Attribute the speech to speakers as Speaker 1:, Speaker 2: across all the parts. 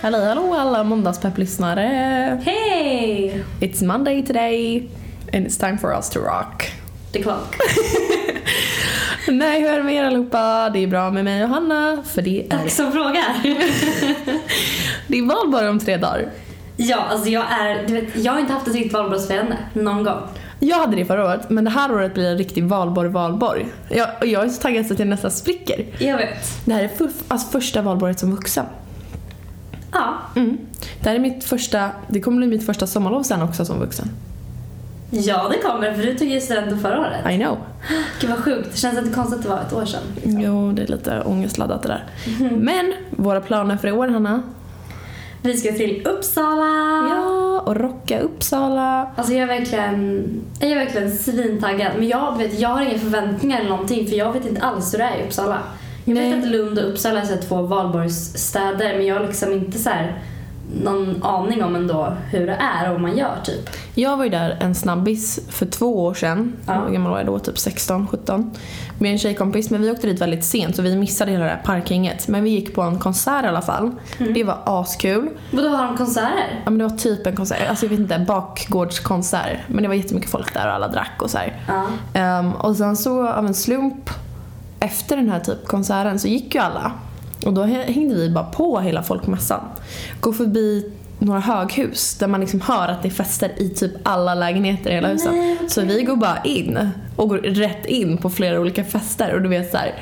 Speaker 1: Hallå hallå alla måndagspepplyssnare!
Speaker 2: Hej!
Speaker 1: It's Monday today and it's time for us to rock.
Speaker 2: The clock.
Speaker 1: Nej, hur är det med er allihopa? Det är bra med mig och Hanna, för det är,
Speaker 2: Tack som frågar.
Speaker 1: det är val bara om tre dagar.
Speaker 2: ja, alltså jag är, du vet, jag har inte haft ett riktigt valborgsfirande någon gång.
Speaker 1: Jag hade det förra året, men det här året blir en riktig valborg valborg. Jag, och jag är så taggad så att jag nästan spricker.
Speaker 2: Jag vet.
Speaker 1: Det här är för, alltså första valborget som vuxen.
Speaker 2: Ja.
Speaker 1: Mm. Det här är mitt första, det kommer bli mitt första sommarlov sen också som vuxen.
Speaker 2: Ja, det kommer för du tog ju studenten förra året.
Speaker 1: I know.
Speaker 2: Gud vad sjukt. Det känns lite konstigt att det var ett år sedan.
Speaker 1: Jo, det är lite ångestladdat det där. Men våra planer för i år, Hanna?
Speaker 2: Vi ska till Uppsala.
Speaker 1: Ja, och rocka Uppsala.
Speaker 2: Alltså jag är verkligen, jag är verkligen svintaggad. Men jag, vet, jag har inga förväntningar eller någonting för jag vet inte alls hur det är i Uppsala. Jag
Speaker 1: Nej.
Speaker 2: vet att Lund och Uppsala är så här två valborgsstäder men jag har liksom inte så här någon aning om ändå hur det är och vad man gör typ.
Speaker 1: Jag var ju där en snabbis för två år sedan.
Speaker 2: Ja.
Speaker 1: Hur gammal var jag då? Typ 16, 17. Med en tjejkompis. Men vi åkte dit väldigt sent så vi missade hela det här parkhänget. Men vi gick på en konsert i alla fall.
Speaker 2: Mm.
Speaker 1: Det var askul.
Speaker 2: Vadå har de konserter?
Speaker 1: Ja, men det var typ en konsert, alltså jag vet inte, bakgårdskonsert. Men det var jättemycket folk där och alla drack och så här.
Speaker 2: Ja.
Speaker 1: Ehm, och sen så av en slump efter den här typ konserten så gick ju alla. Och då hä- hängde vi bara på hela folkmassan. Gå förbi några höghus där man liksom hör att det är fester i typ alla lägenheter i hela huset.
Speaker 2: Nej, okej.
Speaker 1: Så vi går bara in och går rätt in på flera olika fester och du vet såhär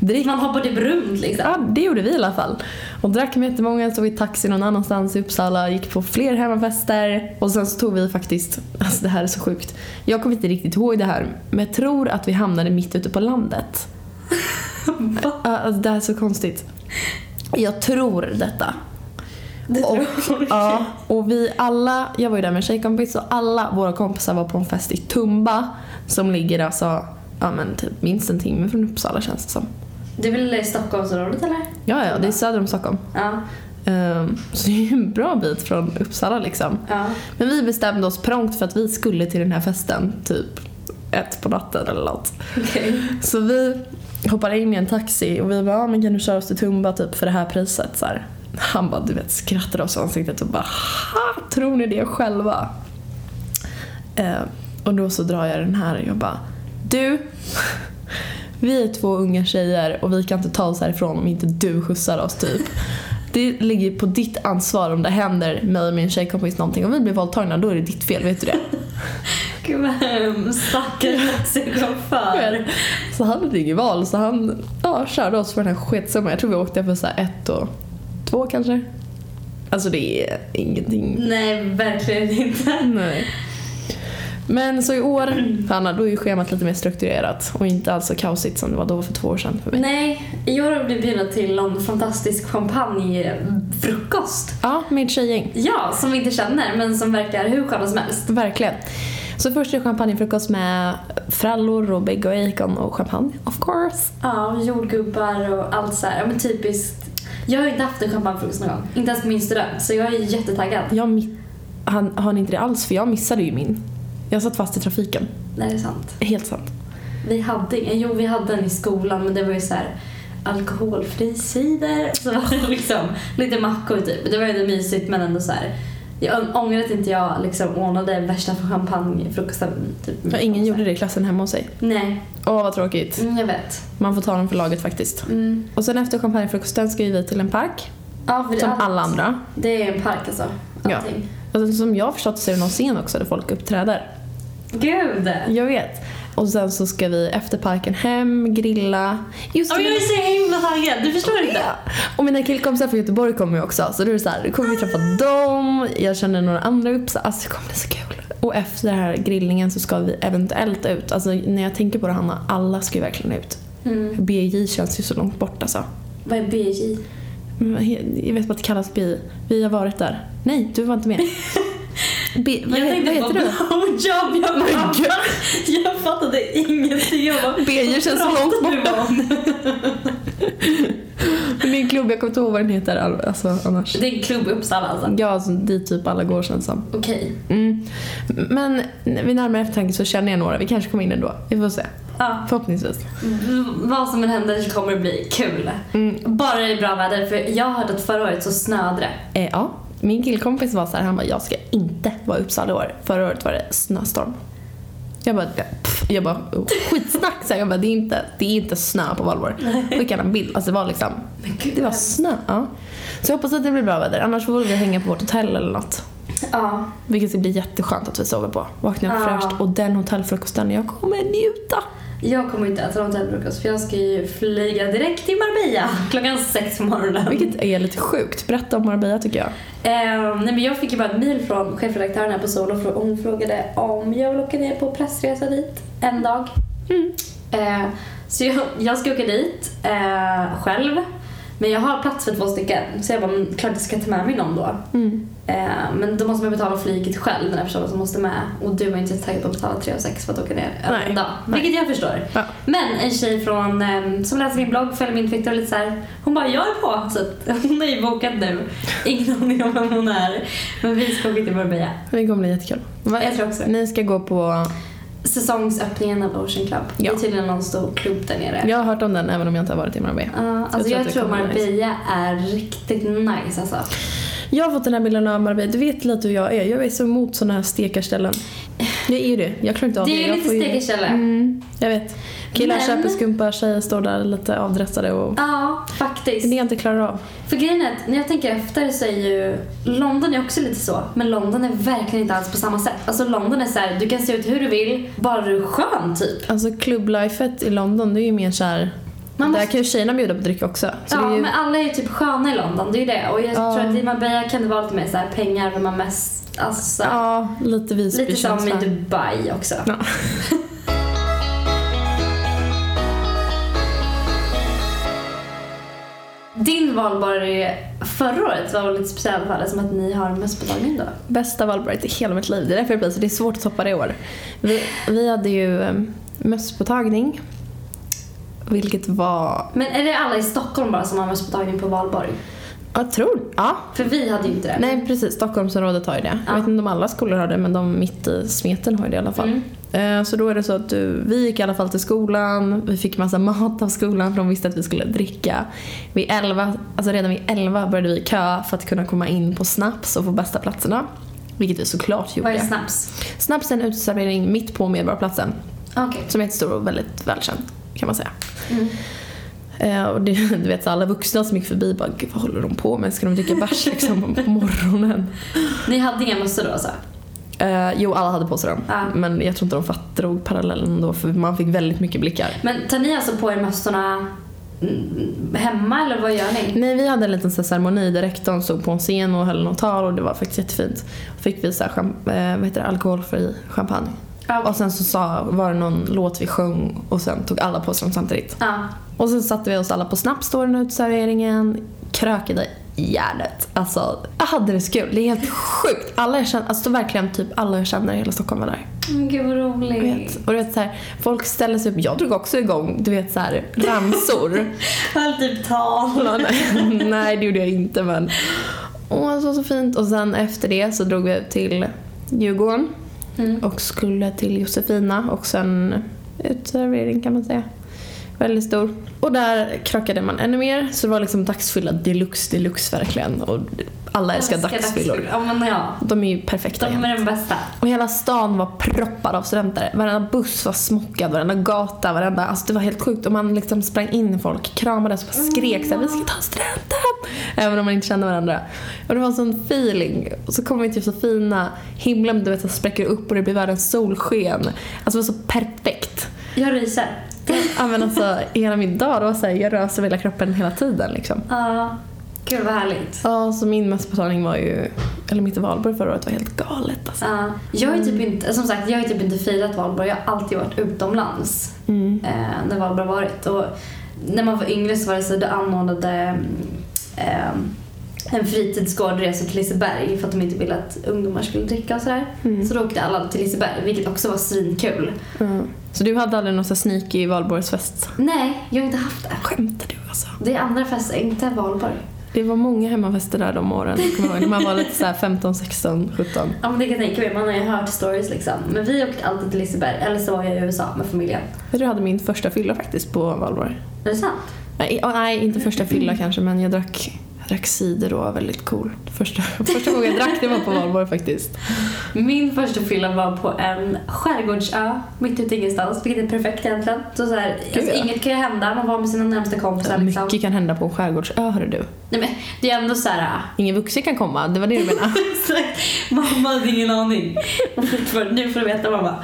Speaker 1: drick
Speaker 2: Man hoppar typ runt liksom.
Speaker 1: Ja, det gjorde vi i alla fall. Och drack med jättemånga, tog i taxi någon annanstans i Uppsala, gick på fler hemmafester. Och sen så tog vi faktiskt, alltså det här är så sjukt. Jag kommer inte riktigt ihåg det här, men jag tror att vi hamnade mitt ute på landet.
Speaker 2: Va?
Speaker 1: Ja, Alltså det här är så konstigt. Jag tror detta. Och, ja, och vi alla, jag var ju där med en tjejkompis och alla våra kompisar var på en fest i Tumba som ligger alltså, ja men typ minst en timme från Uppsala känns det som.
Speaker 2: Det är väl i Stockholmsområdet eller?
Speaker 1: Ja, ja, det är söder om Stockholm.
Speaker 2: Ja.
Speaker 1: Ehm, så det är ju en bra bit från Uppsala liksom.
Speaker 2: ja.
Speaker 1: Men vi bestämde oss prompt för att vi skulle till den här festen typ ett på natten eller något.
Speaker 2: Okej.
Speaker 1: Så vi hoppade in i en taxi och vi bara, ah, men kan du köra oss till Tumba typ för det här priset? Så här. Han bara, du vet skrattade oss i ansiktet och bara, "Ha, tror ni det själva? Ehm, och då så drar jag den här och jag bara, du, vi är två unga tjejer och vi kan inte ta oss härifrån om inte du skjutsar oss typ. Det ligger på ditt ansvar om det händer mig och min tjejkompis någonting. Om vi blir våldtagna då är det ditt fel, vet du det?
Speaker 2: Gud vad hemskt. Stackars taxichaufför.
Speaker 1: själv. Så han hade inget val så han ja, körde oss för den här sketsumman. Jag tror vi åkte för så här ett och två kanske. Alltså det är ingenting.
Speaker 2: Nej, verkligen inte.
Speaker 1: Nej. Men så i år, Hanna, då är ju schemat lite mer strukturerat och inte alls så kaosigt som det var då för två år sedan för mig.
Speaker 2: Nej, i år har vi blivit bjudna till någon fantastisk champagnefrukost.
Speaker 1: Ja, med ett tjejgäng.
Speaker 2: Ja, som vi inte känner men som verkar hur sköna som helst.
Speaker 1: Verkligen. Så först är det champagnefrukost med frallor och bägg och bacon och champagne, of course.
Speaker 2: Ja, och jordgubbar och allt så här. Ja, men typiskt. Jag har ju inte haft en champagnefrukost någon gång. Inte ens på min student. Så jag är jättetaggad.
Speaker 1: Jag mi- han, har ni inte det alls? För jag missade ju min. Jag satt fast i trafiken.
Speaker 2: Nej, det är sant.
Speaker 1: Helt sant.
Speaker 2: Vi hade ingen. Jo, vi hade en i skolan men det var ju så här alkoholfri cider. Så var det liksom lite mackor typ. Det var ju inte mysigt men ändå så här. Jag ång- ångrar att inte jag liksom ordnade värsta champagnefrukosten. Typ.
Speaker 1: För ingen gjorde det i klassen hemma hos sig.
Speaker 2: Nej,
Speaker 1: Åh vad tråkigt.
Speaker 2: mm, jag vet.
Speaker 1: Man får ta dem för laget faktiskt.
Speaker 2: Mm.
Speaker 1: Och sen efter champagnefrukosten ska ju vi till en park.
Speaker 2: Ja, för det,
Speaker 1: Som
Speaker 2: allt-
Speaker 1: alla andra.
Speaker 2: Det är en park alltså.
Speaker 1: Ja.
Speaker 2: Allting.
Speaker 1: Och sen, som jag har förstått så är det någon scen också där folk uppträder.
Speaker 2: Gud!
Speaker 1: Jag vet. Och sen så ska vi efter parken hem, grilla. Just
Speaker 2: Ja, men jag är så himla taggad, du förstår inte.
Speaker 1: Ja. Och mina killkompisar från Göteborg kommer ju också. Så då är det så här, då kommer vi träffa dem. Jag känner några andra uppsatser. Alltså det kommer bli så kul. Och efter den här grillningen så ska vi eventuellt ut. Alltså när jag tänker på det Hanna, alla ska ju verkligen ut.
Speaker 2: Mm.
Speaker 1: BJ känns ju så långt bort alltså.
Speaker 2: Vad är BJ?
Speaker 1: Men he- Jag vet bara att det kallas BI. Vi har varit där. Nej, du var inte med. B, vad,
Speaker 2: jag
Speaker 1: he- vad
Speaker 2: tänkte
Speaker 1: heter
Speaker 2: på
Speaker 1: du? Oh
Speaker 2: blowjob, jag bara,
Speaker 1: Men gud.
Speaker 2: Jag fattade ingenting. Jag bara,
Speaker 1: BJ känns så långt
Speaker 2: pratar du
Speaker 1: borta.
Speaker 2: om?
Speaker 1: Min klubb, jag kommer inte ihåg vad den heter all- alltså, annars.
Speaker 2: Det är en klubb i Uppsala alltså.
Speaker 1: Ja, alltså, dit typ alla går känns som.
Speaker 2: Okej.
Speaker 1: Mm. Men vid närmare eftertanke så känner jag några. Vi kanske kommer in ändå. Vi får se.
Speaker 2: Ja.
Speaker 1: Förhoppningsvis.
Speaker 2: V- Vad som än händer så kommer det bli kul.
Speaker 1: Mm.
Speaker 2: Bara det är bra väder, för jag har hört att förra året så snöade det.
Speaker 1: Eh, ja. Min killkompis var så här, han bara, jag ska inte vara i Uppsala i år. Förra året var det snöstorm. Jag bara, ja, pff, jag bara oh, skitsnack. Så här, jag bara, det är, inte, det är inte snö på valborg. Skickade en bild. Alltså det var liksom,
Speaker 2: Men gud,
Speaker 1: det var
Speaker 2: vad
Speaker 1: snö. Ja. Så jag hoppas att det blir bra väder. Annars får vi hänga på vårt hotell eller något.
Speaker 2: Ja,
Speaker 1: Vilket ska bli jätteskönt att vi sover på. Vakna upp
Speaker 2: Ja.
Speaker 1: fräscht. Och den hotellfrukosten, jag kommer njuta.
Speaker 2: jag kommer inte äta någon hotellfrukost för jag ska ju flyga direkt till Marbella klockan sex på morgonen.
Speaker 1: Ah. Vilket är lite sjukt. Berätta om Marbella tycker jag.
Speaker 2: Eh, nej men jag fick ju bara ett mejl från chefredaktören här på Sol och frå- hon frågade om jag vill åka ner på pressresa dit en dag. Eh, så jag, jag ska åka dit eh, själv. Men jag har plats för två stycken så jag bara, men klart jag ska ta med mig någon då.
Speaker 1: Mm.
Speaker 2: Eh, men då måste man betala flyget själv den här personen som måste med och du var inte så taggad på att betala 3 och 6 för att åka ner
Speaker 1: Nej.
Speaker 2: en dag.
Speaker 1: Nej.
Speaker 2: Vilket jag förstår.
Speaker 1: Ja.
Speaker 2: Men en tjej från, eh, som läser min blogg, följer min Twitter och lite så här, hon bara jag är på. Så att, hon är ju bokad nu. Ingen aning om vem hon är. Men vi ska åka till Marbella.
Speaker 1: Det kommer bli jättekul. Va?
Speaker 2: Jag tror också det.
Speaker 1: Ni ska gå på...
Speaker 2: Säsongsöppningen av Ocean Club.
Speaker 1: Ja.
Speaker 2: Det är tydligen någon stor klubb där nere.
Speaker 1: Jag har hört om den även om jag inte har varit i Marbella.
Speaker 2: Ja, alltså jag,
Speaker 1: att det
Speaker 2: tror
Speaker 1: kommer bli nice.
Speaker 2: Marbella är riktigt nice alltså.
Speaker 1: Jag har fått den här bilden av Marbella. Du vet lite hur jag är. Jag är så emot såna här stekarställen. Jag är ju det. Jag klarar inte av det.
Speaker 2: det är ju
Speaker 1: Jag
Speaker 2: lite
Speaker 1: får
Speaker 2: stekarkälla.
Speaker 1: Mm, jag vet. Killar
Speaker 2: Men-
Speaker 1: köper skumpa, tjejer står där lite avdressade och...
Speaker 2: Ja,
Speaker 1: Det är
Speaker 2: faktiskt.
Speaker 1: det jag inte klarar av.
Speaker 2: För grejen är att när jag tänker efter så är ju London är också lite så. Men London är verkligen inte alls på samma sätt. Alltså London är så här, du kan se ut hur du vill, bara du är skön typ.
Speaker 1: Alltså klubblifet i London, det är ju mer såhär...
Speaker 2: Man
Speaker 1: Där
Speaker 2: måste,
Speaker 1: kan ju tjejerna bjuda på dryck också. Så
Speaker 2: ja,
Speaker 1: det är ju...
Speaker 2: men alla är ju typ sköna i London, det är ju det. Och jag
Speaker 1: Ja.
Speaker 2: tror att i Marbella kan det vara lite mer så här pengar, vem man mest... Alltså, så här,
Speaker 1: ja, lite Visby
Speaker 2: lite som i typ- Dubai också.
Speaker 1: Ja.
Speaker 2: Din valborg förra året var väl lite speciell för alla, som att ni har möss på dagen då?
Speaker 1: Bästa valborg i hela mitt liv. Det är därför det blir så. Det är svårt att toppa det i år. Vi, vi hade ju eh, mösspåtagning. Vilket var...
Speaker 2: Men är det alla i Stockholm bara som har mösspåtagning på valborg?
Speaker 1: Jag tror... Ja,
Speaker 2: För vi hade ju inte det.
Speaker 1: Nej precis, Stockholmsområdet har ju det. Jag
Speaker 2: Ja.
Speaker 1: vet inte om alla skolor har det men de mitt i smeten har ju det i alla fall.
Speaker 2: Mm.
Speaker 1: Eh, Så då är det så att du, vi gick i alla fall till skolan, vi fick massa mat av skolan för de visste att vi skulle dricka. Vid 11, alltså redan vid 11 började vi köa för att kunna komma in på Snaps och få bästa platserna. Vilket vi såklart
Speaker 2: Vad är
Speaker 1: gjorde.
Speaker 2: snaps?
Speaker 1: Snaps är en uteservering mitt på Medborgarplatsen
Speaker 2: Okej.
Speaker 1: som är jättestor och väldigt välkänd kan man säga.
Speaker 2: Mm.
Speaker 1: Eh, och det, du vet så alla vuxna som gick förbi bara Gud, vad håller de på med? Ska de dricka bärs liksom på morgonen?
Speaker 2: Ni hade inga mössor då alltså?
Speaker 1: Eh, jo, alla hade på sig dem.
Speaker 2: Ja.
Speaker 1: Men jag tror inte de fatt, drog parallellen då för man fick väldigt mycket blickar.
Speaker 2: Men tar ni alltså på er mössorna mm, hemma eller vad gör ni?
Speaker 1: Nej, vi hade en liten så här ceremoni där rektorn stod på en scen och höll något tal och det var faktiskt jättefint. Fick vi så här, champ- eh, vad heter det, alkoholfri champagne.
Speaker 2: Ja.
Speaker 1: Och sen så sa, var det någon låt vi sjöng och sen tog alla på sig dem samtidigt.
Speaker 2: Ja.
Speaker 1: Och sen satte vi oss alla på Snaps då, den här uteserveringen. Krökade järnet. Alltså, jag hade det så kul. Det är helt sjukt. Alla jag känner, alltså verkligen typ alla jag känner i hela Stockholm var där.
Speaker 2: Men Mm, Gud vad roligt.
Speaker 1: Jag vet. Och du vet så här, folk ställer sig upp. Jag drog också igång, du vet så här, ramsor.
Speaker 2: Höll typ tal.
Speaker 1: Ja, nej. nej, det gjorde jag inte men. Åh, så, så fint. Och sen efter det så drog vi ut till Djurgården
Speaker 2: Mm.
Speaker 1: och skulle till Josefina och sen uteservering kan man säga. Väldigt stor. Och där krökade man ännu mer så det var liksom dagsfylla deluxe deluxe verkligen och alla älskar dagsfyllor.
Speaker 2: Ja men ja.
Speaker 1: De är ju perfekta.
Speaker 2: De
Speaker 1: igen.
Speaker 2: är den bästa.
Speaker 1: Och hela stan var proppad av studenter. Varenda buss var smockad, varenda gata, varenda... Alltså det var helt sjukt. Och man liksom sprang in i folk, kramades och bara skrek såhär, vi ska ta studenten! Även om man inte kände varandra. Och det var en sån feeling. Och så kom vi till Josefina, himlen du vet så spräcker upp och det blir världens solsken. Alltså det var så perfekt.
Speaker 2: Jag ryser.
Speaker 1: Ja men alltså hela min dag, det var såhär, jag rör över hela kroppen hela tiden liksom.
Speaker 2: Ja. Gud vad härligt.
Speaker 1: Ja, så min mässbetalning var ju, eller mitt valborg förra året var helt galet alltså.
Speaker 2: Ja. Jag har ju typ inte, som sagt, jag har ju typ inte firat valborg. Jag har alltid varit utomlands.
Speaker 1: Mm.
Speaker 2: eh, när valborg har varit. Och när man var yngre så var det så att du anordnade eh, en fritidsgårdresa till Liseberg för att de inte ville att ungdomar skulle dricka och sådär.
Speaker 1: Mm.
Speaker 2: Så då åkte alla till Liseberg, vilket också var svinkul.
Speaker 1: Mm. Så du hade aldrig någon sån här sneaky valborgsfest?
Speaker 2: Nej, jag har inte haft det.
Speaker 1: Skämtar du alltså?
Speaker 2: Det är andra fester, inte valborg.
Speaker 1: Det var många hemmafester där de åren. jag kommer ihåg. När man var lite såhär 15, 16, 17.
Speaker 2: Ja men det kan jag tänka mig, man har ju hört stories liksom. Men vi åkte alltid till Liseberg, eller så var jag i USA med familjen.
Speaker 1: Jag tror jag hade min första fylla faktiskt på valborg.
Speaker 2: Är det sant?
Speaker 1: Nej, ja, nej inte första fylla kanske men jag drack, jag drack cider och var väldigt cool. Första, första gången jag drack det var på valborg faktiskt.
Speaker 2: Min första fylla var på en skärgårdsö mitt ute i ingenstans, vilket är perfekt egentligen. Så, så här, alltså,
Speaker 1: ja.
Speaker 2: inget kan ju hända, man var med sina närmsta kompisar liksom.
Speaker 1: Mycket kan hända på en skärgårdsö hörru du.
Speaker 2: Nej, men det är ändå så här. ah.
Speaker 1: Ingen vuxen kan komma, det var det du menade.
Speaker 2: Exakt. Mamma hade ingen aning. Och fortfarande, nu får du veta mamma.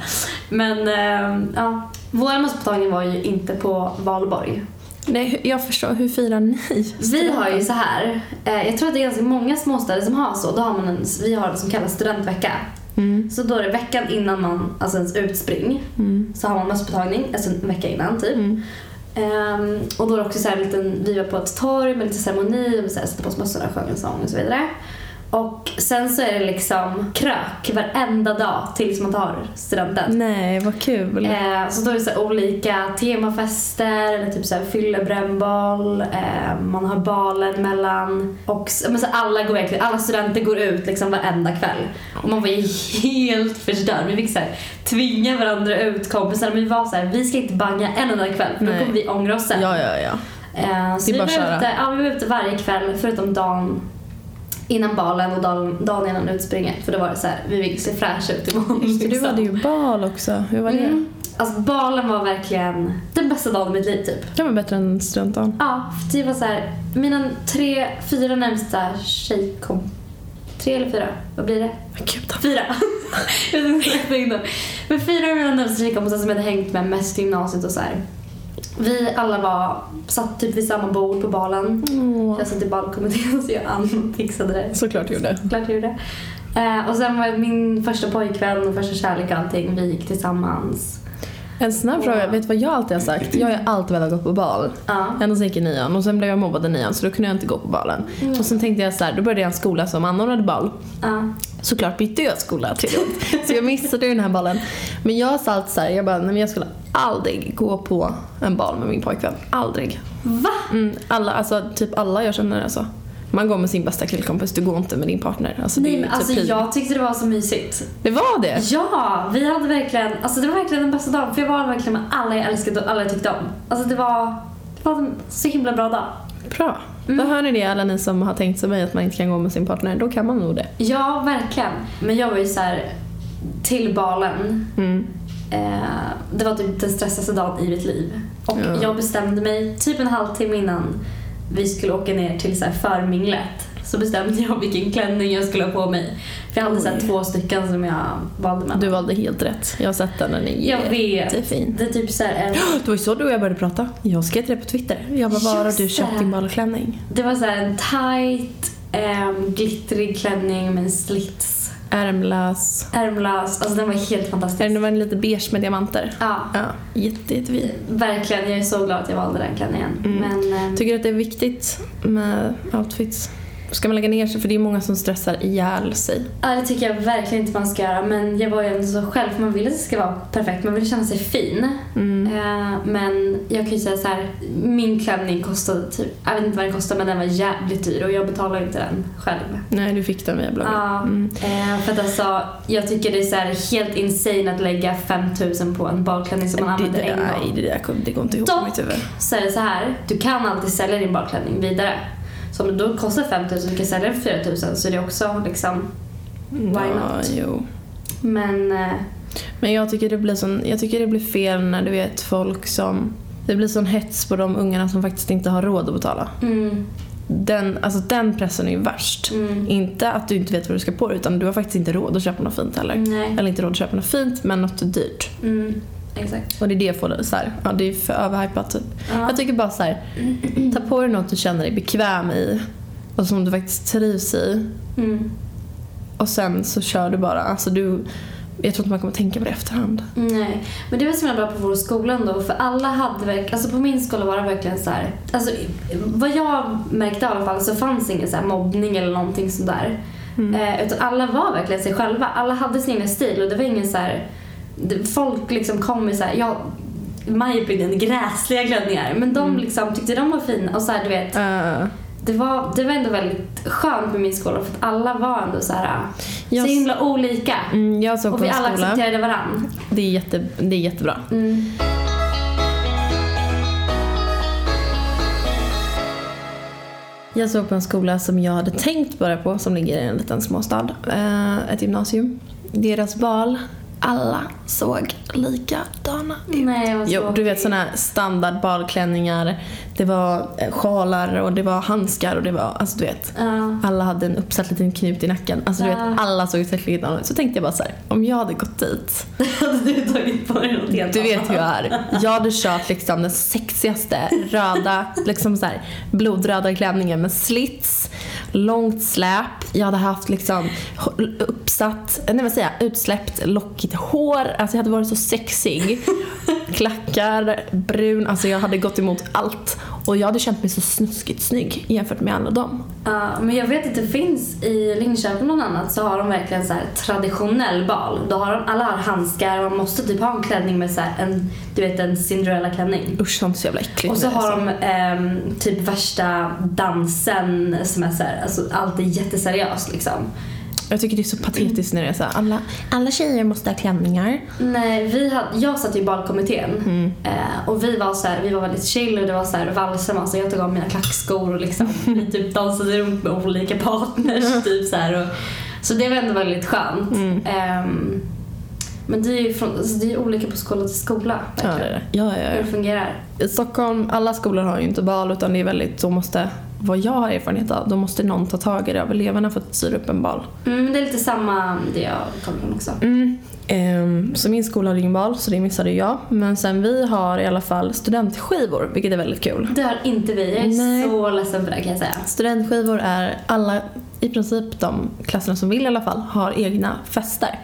Speaker 2: Men ehm, ja, vår massmottagning var ju inte på valborg.
Speaker 1: Nej, jag förstår. Hur firar ni?
Speaker 2: Vi har ju så här. Eh, jag tror att det är ganska många småstäder som har så. Då har man en, vi har det som kallas studentvecka.
Speaker 1: Mm.
Speaker 2: Så då är det veckan innan man, alltså ens utspring,
Speaker 1: Mm.
Speaker 2: så har man mösspåtagning, alltså en vecka innan typ.
Speaker 1: Mm.
Speaker 2: Ehm, och då är det också så här en liten, vi var på ett torg med lite ceremoni och vi så här satte på oss mössorna och sjöng en sång och så vidare. Och sen så är det liksom krök varenda dag tills man tar studenten.
Speaker 1: Nej, vad kul.
Speaker 2: Eh, så då är det så här olika temafester, eller typ så här fyllebrännboll, eh, man har balen mellan. Och, s- men så alla, går verkligen, alla studenter går ut liksom varenda kväll. Och man var ju helt förstörd. Vi fick så här, tvinga varandra ut, kompisarna. Men vi var så här, vi ska inte banga en enda kväll för då
Speaker 1: Nej.
Speaker 2: kommer vi ångra oss sen.
Speaker 1: Ja, ja, ja.
Speaker 2: Eh,
Speaker 1: Det
Speaker 2: så
Speaker 1: är
Speaker 2: vi
Speaker 1: bara
Speaker 2: var,
Speaker 1: att köra.
Speaker 2: ute, ja, vi var ute varje kväll förutom dagen innan balen och dagen, dagen innan utspringet. För då var det så här, vi vill se fräscha ut imorgon.
Speaker 1: Just det, du
Speaker 2: liksom.
Speaker 1: hade ju bal också. Hur var det?
Speaker 2: Mm. Alltså balen var verkligen den bästa dagen i mitt liv typ.
Speaker 1: Det var bättre än studentdagen.
Speaker 2: Ja, för det var så här, mina tre, fyra närmsta tjejkom... Tre eller fyra? Vad blir det?
Speaker 1: Men gud,
Speaker 2: Fyra! Jag vet inte exakt vad jag hinner. Men fyra av mina närmsta tjejkompisar som jag hade hängt med mest i gymnasiet och så här. Vi alla var, satt typ vid samma bord på balen.
Speaker 1: Åh,
Speaker 2: Jag satt i balkommittén så jag anfixade det.
Speaker 1: Såklart du gjorde.
Speaker 2: Klart jag gjorde. Eh, och sen var min första pojkvän och första kärlek och allting, vi gick tillsammans.
Speaker 1: En snabb fråga,
Speaker 2: Wow.
Speaker 1: vet du vad jag alltid har sagt? Jag har alltid velat gå på bal.
Speaker 2: Ja.
Speaker 1: Ända sen jag gick i nian och sen blev jag mobbad i nian så då kunde jag inte gå på balen.
Speaker 2: Mm.
Speaker 1: Och sen tänkte jag så här, då började jag en skola som anordnade bal.
Speaker 2: ja.
Speaker 1: Såklart bytte jag skola till det. Så jag missade ju den här ballen. Men jag sa alltid såhär, jag bara, nej men jag skulle aldrig gå på en bal med min pojkvän. Aldrig.
Speaker 2: Va?
Speaker 1: Mm, alla, alltså typ alla jag känner alltså. Man går med sin bästa killkompis, du går inte med din partner. Alltså, det är
Speaker 2: Nej
Speaker 1: ju
Speaker 2: men
Speaker 1: typ
Speaker 2: alltså
Speaker 1: hur-
Speaker 2: jag tyckte det var så mysigt.
Speaker 1: Det var det!
Speaker 2: Ja, vi hade verkligen, alltså det var verkligen den bästa dagen för jag var verkligen med alla jag älskade och alla jag tyckte om. Alltså det var, det var en så himla bra dag.
Speaker 1: Bra. Då hör ni det alla ni som har tänkt som mig att man inte kan gå med sin partner. Då kan man nog det.
Speaker 2: Ja, verkligen. Men jag var ju så här till balen.
Speaker 1: Mm.
Speaker 2: Eh, det var typ den stressigaste dagen i mitt liv. Och
Speaker 1: Ja.
Speaker 2: jag bestämde mig typ en halvtimme innan vi skulle åka ner till så här förminglet. Så bestämde jag vilken klänning jag skulle ha på mig. För jag hade så här
Speaker 1: Oj.
Speaker 2: två stycken som jag valde mellan.
Speaker 1: Du valde helt rätt. Jag har sett den, den
Speaker 2: Jag
Speaker 1: är
Speaker 2: vet.
Speaker 1: jättefin.
Speaker 2: Det är typ så här en
Speaker 1: Det var ju så du och jag började prata. Jag skrev till dig på Twitter. Jag bara, var har du
Speaker 2: Just
Speaker 1: köpt
Speaker 2: det.
Speaker 1: din balklänning?
Speaker 2: Det var så här en tight, ehm, glittrig klänning med en slits.
Speaker 1: Ärmlös.
Speaker 2: Ärmlös. Alltså den var helt fantastisk.
Speaker 1: Den var en lite beige med diamanter.
Speaker 2: Ja,
Speaker 1: Ja, jätte, jättefin.
Speaker 2: verkligen. Jag är så glad att jag valde den klänningen.
Speaker 1: Mm.
Speaker 2: Men ehm,
Speaker 1: Tycker du att det är viktigt med outfits? Ska man lägga ner sig? För det är många som stressar ihjäl sig.
Speaker 2: ja, det tycker jag verkligen inte man ska göra. Men jag var ju ändå så själv. för Man vill att det ska vara perfekt. Man vill känna sig fin.
Speaker 1: Mm.
Speaker 2: Eh, men jag kan ju säga så här. Min klänning kostade typ, jag vet inte vad den kostade men den var jävligt dyr och jag betalade inte den själv.
Speaker 1: Nej, du fick den via bloggen.
Speaker 2: Ja.
Speaker 1: Mm.
Speaker 2: Eh, för att alltså, jag tycker det är så här helt insane att lägga 5000 på en balklänning som man
Speaker 1: Det,
Speaker 2: använder
Speaker 1: det,
Speaker 2: en
Speaker 1: nej,
Speaker 2: gång.
Speaker 1: det där det går inte ihop i
Speaker 2: Dock.
Speaker 1: mitt huvud.
Speaker 2: Så är det så här, du kan alltid sälja din balklänning vidare. Så om det då kostar 5000 och du kan sälja den för 4000 så är det också liksom... Why
Speaker 1: ja,
Speaker 2: not?
Speaker 1: jo.
Speaker 2: Men... Eh,
Speaker 1: Men jag tycker, det blir sån, jag tycker det blir fel när du vet folk som... Det blir sån hets på de ungarna som faktiskt inte har råd att betala.
Speaker 2: mm,
Speaker 1: Den, alltså den pressen är ju värst.
Speaker 2: mm,
Speaker 1: Inte att du inte vet vad du ska på dig, utan du har faktiskt inte råd att köpa något fint heller.
Speaker 2: nej.
Speaker 1: Eller inte råd att köpa något fint men något dyrt.
Speaker 2: Mm, exakt.
Speaker 1: Och det är det jag får det så här, ja, det är för överhypat typ.
Speaker 2: Ja.
Speaker 1: Jag tycker bara så här, ta på dig något du känner dig bekväm i och som du faktiskt trivs i.
Speaker 2: Mm,
Speaker 1: Och sen så kör du bara. Alltså du, jag tror inte man kommer tänka på det i efterhand.
Speaker 2: nej. Men det var så himla bra på vår skola ändå för alla hade verkligen... Alltså på min skola var det verkligen så här... Alltså vad jag märkte i alla fall så fanns ingen så här mobbning eller någonting sånt där. Eh, utan alla var verkligen sig själva. Alla hade sin egen stil och det var ingen så här... det- Folk liksom kom i så här, ja, i my opinion, gräsliga klänningar. Men de liksom tyckte de var fina och så här, du vet.
Speaker 1: Eh,
Speaker 2: det var, det var ändå väldigt skönt med min skola för att alla var ändå så här
Speaker 1: Jag
Speaker 2: så
Speaker 1: s-
Speaker 2: himla olika.
Speaker 1: Mm, jag såg
Speaker 2: Och
Speaker 1: på
Speaker 2: vi
Speaker 1: en
Speaker 2: alla
Speaker 1: skola.
Speaker 2: accepterade varandra.
Speaker 1: Det är, jätte, det är jättebra.
Speaker 2: Mm.
Speaker 1: Jag såg på en skola som jag hade tänkt börja på som ligger i en liten småstad. Eh, ett gymnasium. Deras val, alla såg likadana ut.
Speaker 2: Nej, vad
Speaker 1: Jo,
Speaker 2: tråkigt.
Speaker 1: du vet sådana här standardbalklänningar. Det var eh, sjalar och det var handskar och det var, alltså du vet.
Speaker 2: Ja.
Speaker 1: Alla hade en uppsatt liten knut i nacken. Alltså du vet,
Speaker 2: Ja.
Speaker 1: alla såg exakt likadana ut. Så tänkte jag bara så här, om jag hade gått dit.
Speaker 2: hade du tagit på dig något helt
Speaker 1: Du vet
Speaker 2: annat.
Speaker 1: hur jag är. Jag hade kört liksom den sexigaste röda, liksom så här, blodröda klänningen med slits, långt släp. Jag hade haft liksom h- uppsatt, nej vad säger jag, utsläppt lockigt hår. Alltså jag hade varit så sexig. Klackar, brun, alltså jag hade gått emot allt. Och jag hade känt mig så snuskigt snygg jämfört med alla dem.
Speaker 2: Ja, men jag vet att det finns i Linköping bland annat så har de verkligen så här traditionell bal. Då har de, alla har handskar man måste typ ha en klänning med så här en, du vet en Cinderella-klänning.
Speaker 1: Usch sånt är så jävla äckligt.
Speaker 2: Och så
Speaker 1: nu,
Speaker 2: har
Speaker 1: alltså.
Speaker 2: de ehm, typ värsta dansen som är så här, alltså allt är jätteseriöst liksom.
Speaker 1: Jag tycker det är så patetiskt när det är såhär, alla, alla tjejer måste ha klänningar.
Speaker 2: Nej, vi hade, jag satt ju i balkommittén
Speaker 1: Mm.
Speaker 2: eh, och vi var, så här, vi var väldigt chill och det var så här valsar man så jag tog av mina klackskor och liksom, vi typ dansade runt med olika partners. typ så, här, och, så det var ändå väldigt skönt.
Speaker 1: Mm.
Speaker 2: Ehm, men det är ju från, alltså, det är ju olika på skola till skola
Speaker 1: Ja, det
Speaker 2: verkligen.
Speaker 1: är det. ja, ja, ja.
Speaker 2: Hur det fungerar.
Speaker 1: I Stockholm, alla skolor har ju inte bal utan det är väldigt, då måste, vad jag har erfarenhet av, då måste någon ta tag i det av eleverna för att styra upp en bal.
Speaker 2: Mm, det är lite samma det jag kommer ihåg också.
Speaker 1: Mm. Ehm, så min skola hade ingen bal så det missade ju jag. Men sen vi har i alla fall studentskivor vilket är väldigt kul.
Speaker 2: Det har inte vi. Jag är
Speaker 1: Nej.
Speaker 2: så ledsen för det kan jag säga.
Speaker 1: Studentskivor är alla, i princip de klasserna som vill i alla fall, har egna fester.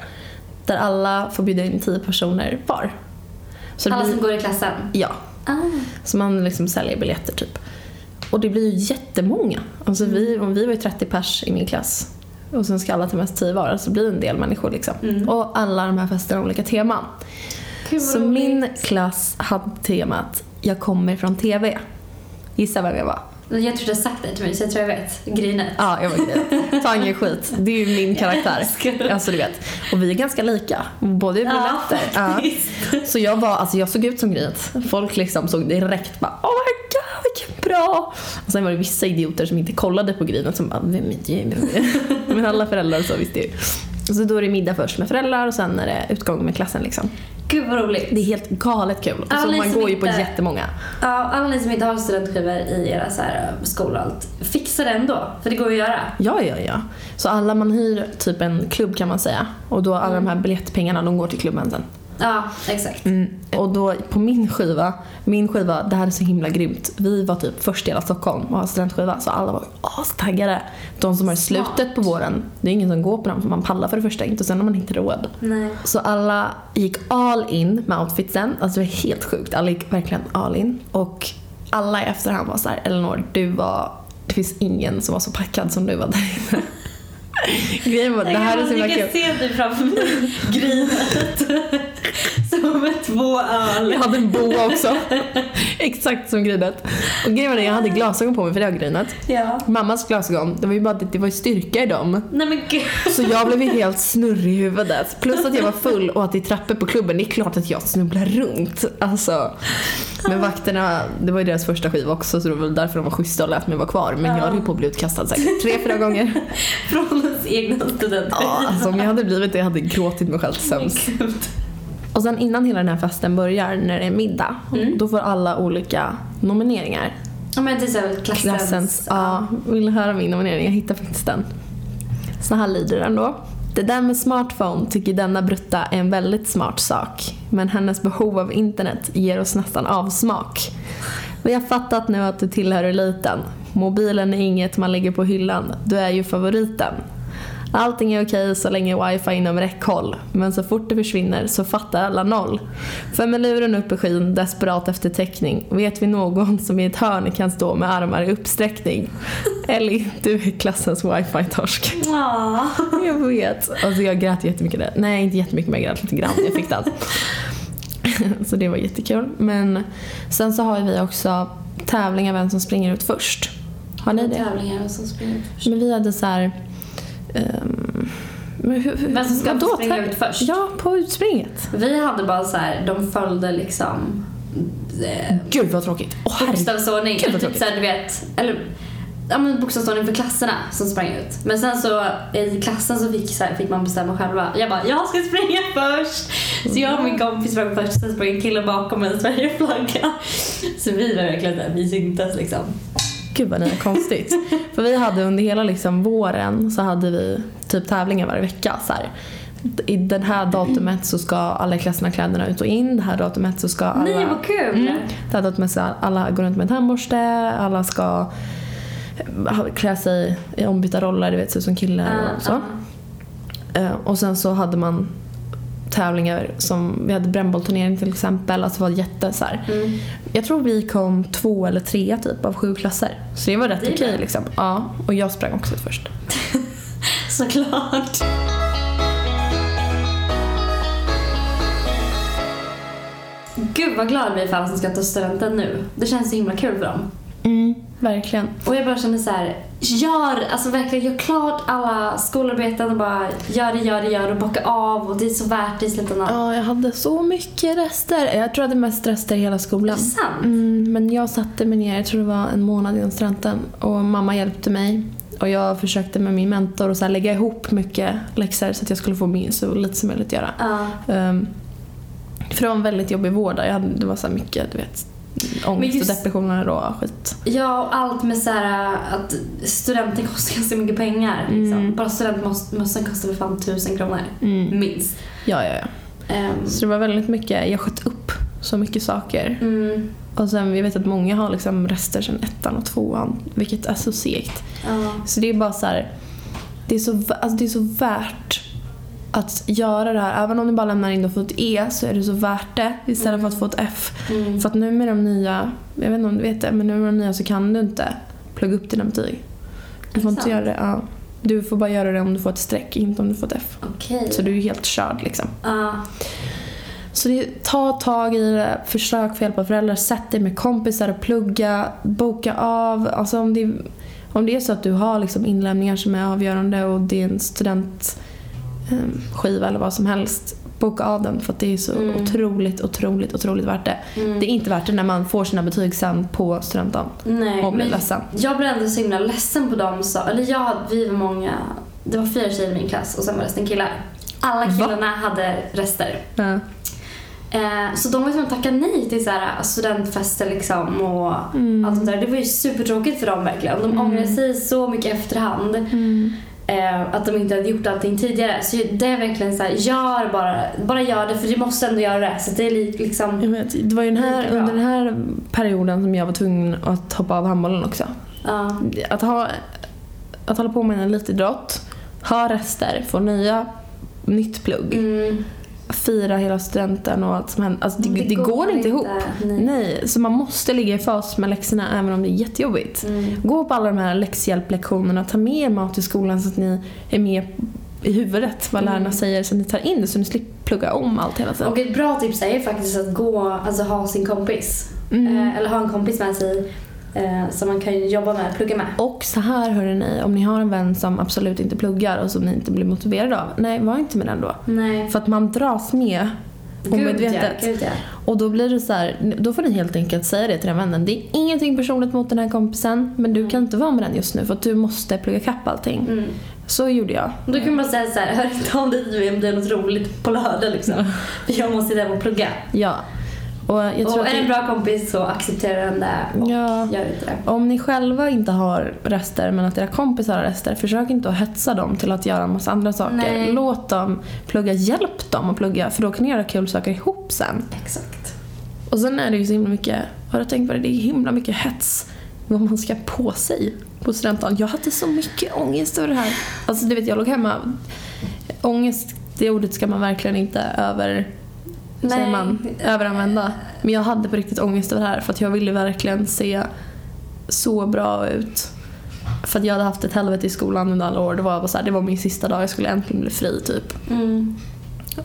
Speaker 1: Där alla får bjuda in tio personer var. Så det
Speaker 2: Alla
Speaker 1: blir,
Speaker 2: som går i klassen.
Speaker 1: ja,
Speaker 2: Ah.
Speaker 1: Så man liksom säljer biljetter typ. Och det blir ju jättemånga. Alltså vi,
Speaker 2: Mm.
Speaker 1: om vi var ju 30 pers i min klass och sen ska alla ta med sig 10 var, så blir det en del människor liksom.
Speaker 2: Mm.
Speaker 1: Och alla de här festerna har olika teman.
Speaker 2: Gud, vad
Speaker 1: Så
Speaker 2: roligt.
Speaker 1: min klass hade temat Jag kommer från TV. Gissa vem jag var?
Speaker 2: Jag tror du har sagt det till mig så jag tror jag vet. Grynet.
Speaker 1: Ja, jag var det. Ta ingen skit. Det är ju min karaktär.
Speaker 2: Ska du-
Speaker 1: Alltså du vet. Och vi är ganska lika. Både i brunetter. Ja.
Speaker 2: faktiskt.
Speaker 1: Så jag var, alltså jag såg ut som Grynet. Folk liksom såg direkt bara oh my god vilken bra. Och sen var det vissa idioter som inte kollade på Grynet som bara vem är det? Vem är det?" Men alla föräldrar så visste ju. Och Så då är det middag först med föräldrar och sen är det utgång med klassen liksom.
Speaker 2: Gud vad roligt.
Speaker 1: Det är helt galet kul. Och så
Speaker 2: Alla
Speaker 1: man
Speaker 2: som
Speaker 1: går ju på
Speaker 2: inte-
Speaker 1: jättemånga.
Speaker 2: Ja, alla ni som inte har studentskivor i era så här, eh, skolor och allt, fixa det ändå. För det går att göra.
Speaker 1: Ja, ja, ja. Så alla man hyr typ en klubb kan man säga. Och då alla de här biljettpengarna de går till klubben sen.
Speaker 2: Ja, exakt.
Speaker 1: Mm. Och då på min skiva, min skiva, det här är så himla grymt. Vi var typ först i hela Stockholm och hade studentskiva så alla var astaggade. De som har i
Speaker 2: Smart.
Speaker 1: slutet på våren, det är ingen som går på dem för man pallar för det första inte och sen har man inte råd.
Speaker 2: Nej.
Speaker 1: Så alla gick all in med outfitsen, alltså det var helt sjukt. Alla gick verkligen all in. Och alla i efterhand var såhär, Elinor du var, det finns ingen som var så packad som du var där inne. Grejen var, det här är så himla kul.
Speaker 2: Jag kan se dig framför mig, grynet. Som med två öl.
Speaker 1: Jag hade en boa också. Exakt som grynet. Och grejen var det, jag hade glasögon på mig för det var grynet.
Speaker 2: Ja.
Speaker 1: Mammas glasögon, det var ju bara det var ju styrka i dem.
Speaker 2: Nej men gud.
Speaker 1: Så jag blev ju helt snurrig i huvudet. Plus att jag var full och att i trappor på klubben, det är klart att jag snubblar runt. Alltså. Men vakterna, det var ju deras första skiva också så det var väl därför de var schyssta och lät mig vara kvar. Men jag höll ju på att bli utkastad säkert tre, fyra gånger.
Speaker 2: Från ens egna studenter.
Speaker 1: Ja, alltså om jag hade blivit det, jag hade gråtit mig själv till
Speaker 2: Men
Speaker 1: sömns.
Speaker 2: gud.
Speaker 1: Och sen innan hela den här festen börjar, när det är middag,
Speaker 2: Mm.
Speaker 1: då får alla olika nomineringar.
Speaker 2: Ja men typ det är såhär klassens...
Speaker 1: Klassens, ja, vill du höra min nominering? Jag hittar faktiskt den. Så här lyder den då. Det där med smartphone tycker denna brutta är en väldigt smart sak. Men hennes behov av internet ger oss nästan avsmak. Vi har fattat nu att du tillhör eliten. Mobilen är inget man lägger på hyllan. Du är ju favoriten. Allting är okej så länge wifi är inom räckhåll. Men så fort det försvinner så fattar alla noll. För med luren upp i skyn, desperat efter täckning. Vet vi någon som i ett hörn kan stå med armar i uppsträckning? Ellie, du är klassens wifi-torsk.
Speaker 2: Ja.
Speaker 1: Jag vet. Alltså jag grät jättemycket där. Nej, inte jättemycket men jag grät lite grann. Jag fick dans. så det var jättekul. Men sen så har vi också tävlingar vem som springer ut först. Har ni det?
Speaker 2: Tävlingar vem som springer ut.
Speaker 1: Men vi hade så här... ehm, men hur, hur,
Speaker 2: Vem som ska
Speaker 1: vadå?
Speaker 2: springa ut först?
Speaker 1: Ja, på utspringet.
Speaker 2: Vi hade bara så här, de följde liksom eh,
Speaker 1: Gud vad tråkigt. Åh herregud.
Speaker 2: bokstavsordning.
Speaker 1: Gud, vad
Speaker 2: Typ
Speaker 1: tråkigt.
Speaker 2: såhär, du vet, eller ja, men bokstavsordning för klasserna som sprang ut. Men sen så i klassen så fick, så här, fick man bestämma själva. Jag bara, jag ska springa först! Så jag och min kompis sprang först, sen sprang en kille bakom med en Sverigeflagga. Så vi var verkligen såhär, vi syntes liksom.
Speaker 1: Gud vad ni är konstigt. För vi hade under hela liksom våren så hade vi typ tävlingar varje vecka. Så här. I den här datumet så ska alla i klassen ha kläderna ut och in. Det här datumet så ska alla...
Speaker 2: Nej vad kul!
Speaker 1: Mm. Det här datumet så alla går runt med en tandborste, alla ska ha- klä sig i ombytta roller, du vet, se ut som killar
Speaker 2: Ah,
Speaker 1: och så.
Speaker 2: ah.
Speaker 1: Eh, Och sen så hade man tävlingar som, vi hade brännbollturnering till exempel, alltså var jätte så här.
Speaker 2: Mm.
Speaker 1: Jag tror vi kom två eller trea typ av sju klasser. Så det var rätt
Speaker 2: Det är
Speaker 1: okej
Speaker 2: bra.
Speaker 1: liksom. Ja, och jag sprang också ut först.
Speaker 2: Såklart. Gud vad glad vi är för alla som ska ta studenten nu. Det känns så himla kul för dem.
Speaker 1: Mm, verkligen.
Speaker 2: Och jag bara känner så här, gör, alltså verkligen gör klart alla skolarbeten och bara gör det, gör det, gör det och bocka av och det är så värt det i slutändan.
Speaker 1: Ja, jag hade så mycket rester. Jag tror jag hade mest rester i hela
Speaker 2: Det är
Speaker 1: skolan.
Speaker 2: sant.
Speaker 1: Mm, men jag satte mig ner, jag tror det var en månad innan studenten och mamma hjälpte mig. Och jag försökte med min mentor att så här lägga ihop mycket läxor så att jag skulle få min, så lite som möjligt att göra.
Speaker 2: Ja.
Speaker 1: Um, för det var en väldigt jobbig vård där. Jag hade, det var så här mycket du vet, ångest
Speaker 2: just-
Speaker 1: och depressioner och skit.
Speaker 2: Ja, och allt med så här att studenten kostar ganska mycket pengar. Liksom.
Speaker 1: Mm.
Speaker 2: Bara studentmössan kostar väl fan tusen kronor.
Speaker 1: Mm.
Speaker 2: Minst.
Speaker 1: Ja, ja, ja.
Speaker 2: Ehm,
Speaker 1: Så det var väldigt mycket, jag sköt upp så mycket saker.
Speaker 2: mm,
Speaker 1: Och sen, jag vet att många har liksom rester sedan ettan och tvåan, vilket är så segt.
Speaker 2: ja.
Speaker 1: Så det är bara så här, det är så, vä- alltså det är så värt att göra det här. Även om du bara lämnar in och får ett E så är det så värt det istället för att få ett F.
Speaker 2: Mm.
Speaker 1: För att nu med de nya, jag vet inte om du vet det, men nu med de nya så kan du inte plugga upp dina betyg. Du får inte
Speaker 2: Sant.
Speaker 1: göra det. Ja. Du får bara göra det om du får ett streck, inte om du får ett F.
Speaker 2: Okej.
Speaker 1: Så du är helt körd liksom.
Speaker 2: Ja.
Speaker 1: Så det är, ta tag i det, försök få hjälp av föräldrar, sätt dig med kompisar och plugga, boka av. Alltså om, det, om det är så att du har liksom inlämningar som är avgörande och det är en studentskiva eller vad som helst, boka av den för att det är så
Speaker 2: Mm.
Speaker 1: otroligt, otroligt, otroligt värt det.
Speaker 2: Mm.
Speaker 1: Det är inte värt det när man får sina betyg sen på studenten
Speaker 2: Nej,
Speaker 1: och blir
Speaker 2: men
Speaker 1: ledsen.
Speaker 2: jag blev ändå så himla ledsen på dem. Så, eller jag, vi var många, det var fyra tjejer i min klass och sen var resten killar. Alla
Speaker 1: Va?
Speaker 2: killarna hade rester.
Speaker 1: Ja.
Speaker 2: Eh, så de var tvungna att tacka nej till så här, äh, studentfester liksom och
Speaker 1: Mm.
Speaker 2: allt sånt där. Det var ju supertråkigt för dem verkligen. De ångrade sig så mycket i efterhand.
Speaker 1: Mm.
Speaker 2: Eh, att de inte hade gjort allting tidigare. Så det är verkligen så här, gör bara, bara gör det för du måste ändå göra det. Så det är li- liksom,
Speaker 1: Jag vet, det var ju den här,
Speaker 2: Lika bra.
Speaker 1: under den här perioden som jag var tvungen att hoppa av handbollen också.
Speaker 2: ja.
Speaker 1: att, ha, att hålla på med en elitidrott, ha rester, få nya, nytt plugg,
Speaker 2: Mm,
Speaker 1: fira hela studenten och allt som händer. Alltså det, det, går, inte ihop.
Speaker 2: Nej.
Speaker 1: Nej, så man måste ligga i fas med läxorna även om det är jättejobbigt.
Speaker 2: Mm.
Speaker 1: Gå på alla de här läxhjälplektionerna, ta med er mat till skolan så att ni är med i huvudet vad lärarna
Speaker 2: Mm.
Speaker 1: säger så att ni tar in det så ni slipper plugga om allt hela tiden.
Speaker 2: Och ett bra tips är ju faktiskt att gå, alltså ha sin kompis.
Speaker 1: Mm.
Speaker 2: Eh, eller ha en kompis med sig eh, som man kan jobba med, plugga med.
Speaker 1: Och så här hörrni, om ni har en vän som absolut inte pluggar och som ni inte blir motiverade av, nej var inte med den då.
Speaker 2: Nej.
Speaker 1: För att man dras med omedvetet.
Speaker 2: Gud ja.
Speaker 1: Och då blir det så här, då får ni helt enkelt säga det till den vännen. Det är ingenting personligt mot den här kompisen men du kan inte vara med den just nu för att du måste plugga kapp allting.
Speaker 2: Mm.
Speaker 1: Så gjorde jag.
Speaker 2: Och Då kan man säga så här, hör inte av dig till mig om det är något roligt på lördag liksom. För jag måste hem och plugga.
Speaker 1: Ja. Och jag tror
Speaker 2: Och
Speaker 1: att
Speaker 2: är det en
Speaker 1: det,
Speaker 2: bra kompis så accepterar den det och
Speaker 1: Ja.
Speaker 2: gör inte det.
Speaker 1: om ni själva inte har rester men att era kompisar har rester, försök inte att hetsa dem till att göra en massa andra saker.
Speaker 2: Nej.
Speaker 1: Låt dem plugga, hjälp dem att plugga för då kan ni göra kul saker ihop sen.
Speaker 2: Exakt.
Speaker 1: Och sen är det ju så himla mycket, har du tänkt på det? Det är himla mycket hets vad man ska på sig på studentdagen. Jag hade så mycket ångest över det här. Alltså du vet, jag låg hemma. Ångest, det ordet ska man verkligen inte över, hur säger
Speaker 2: Nej.
Speaker 1: man, överanvända. Men jag hade på riktigt ångest över det här för att jag ville verkligen se så bra ut. För att jag hade haft ett helvete i skolan under alla år. Det var, jag bara så här, det var min sista dag, jag skulle äntligen bli fri typ.
Speaker 2: Mm.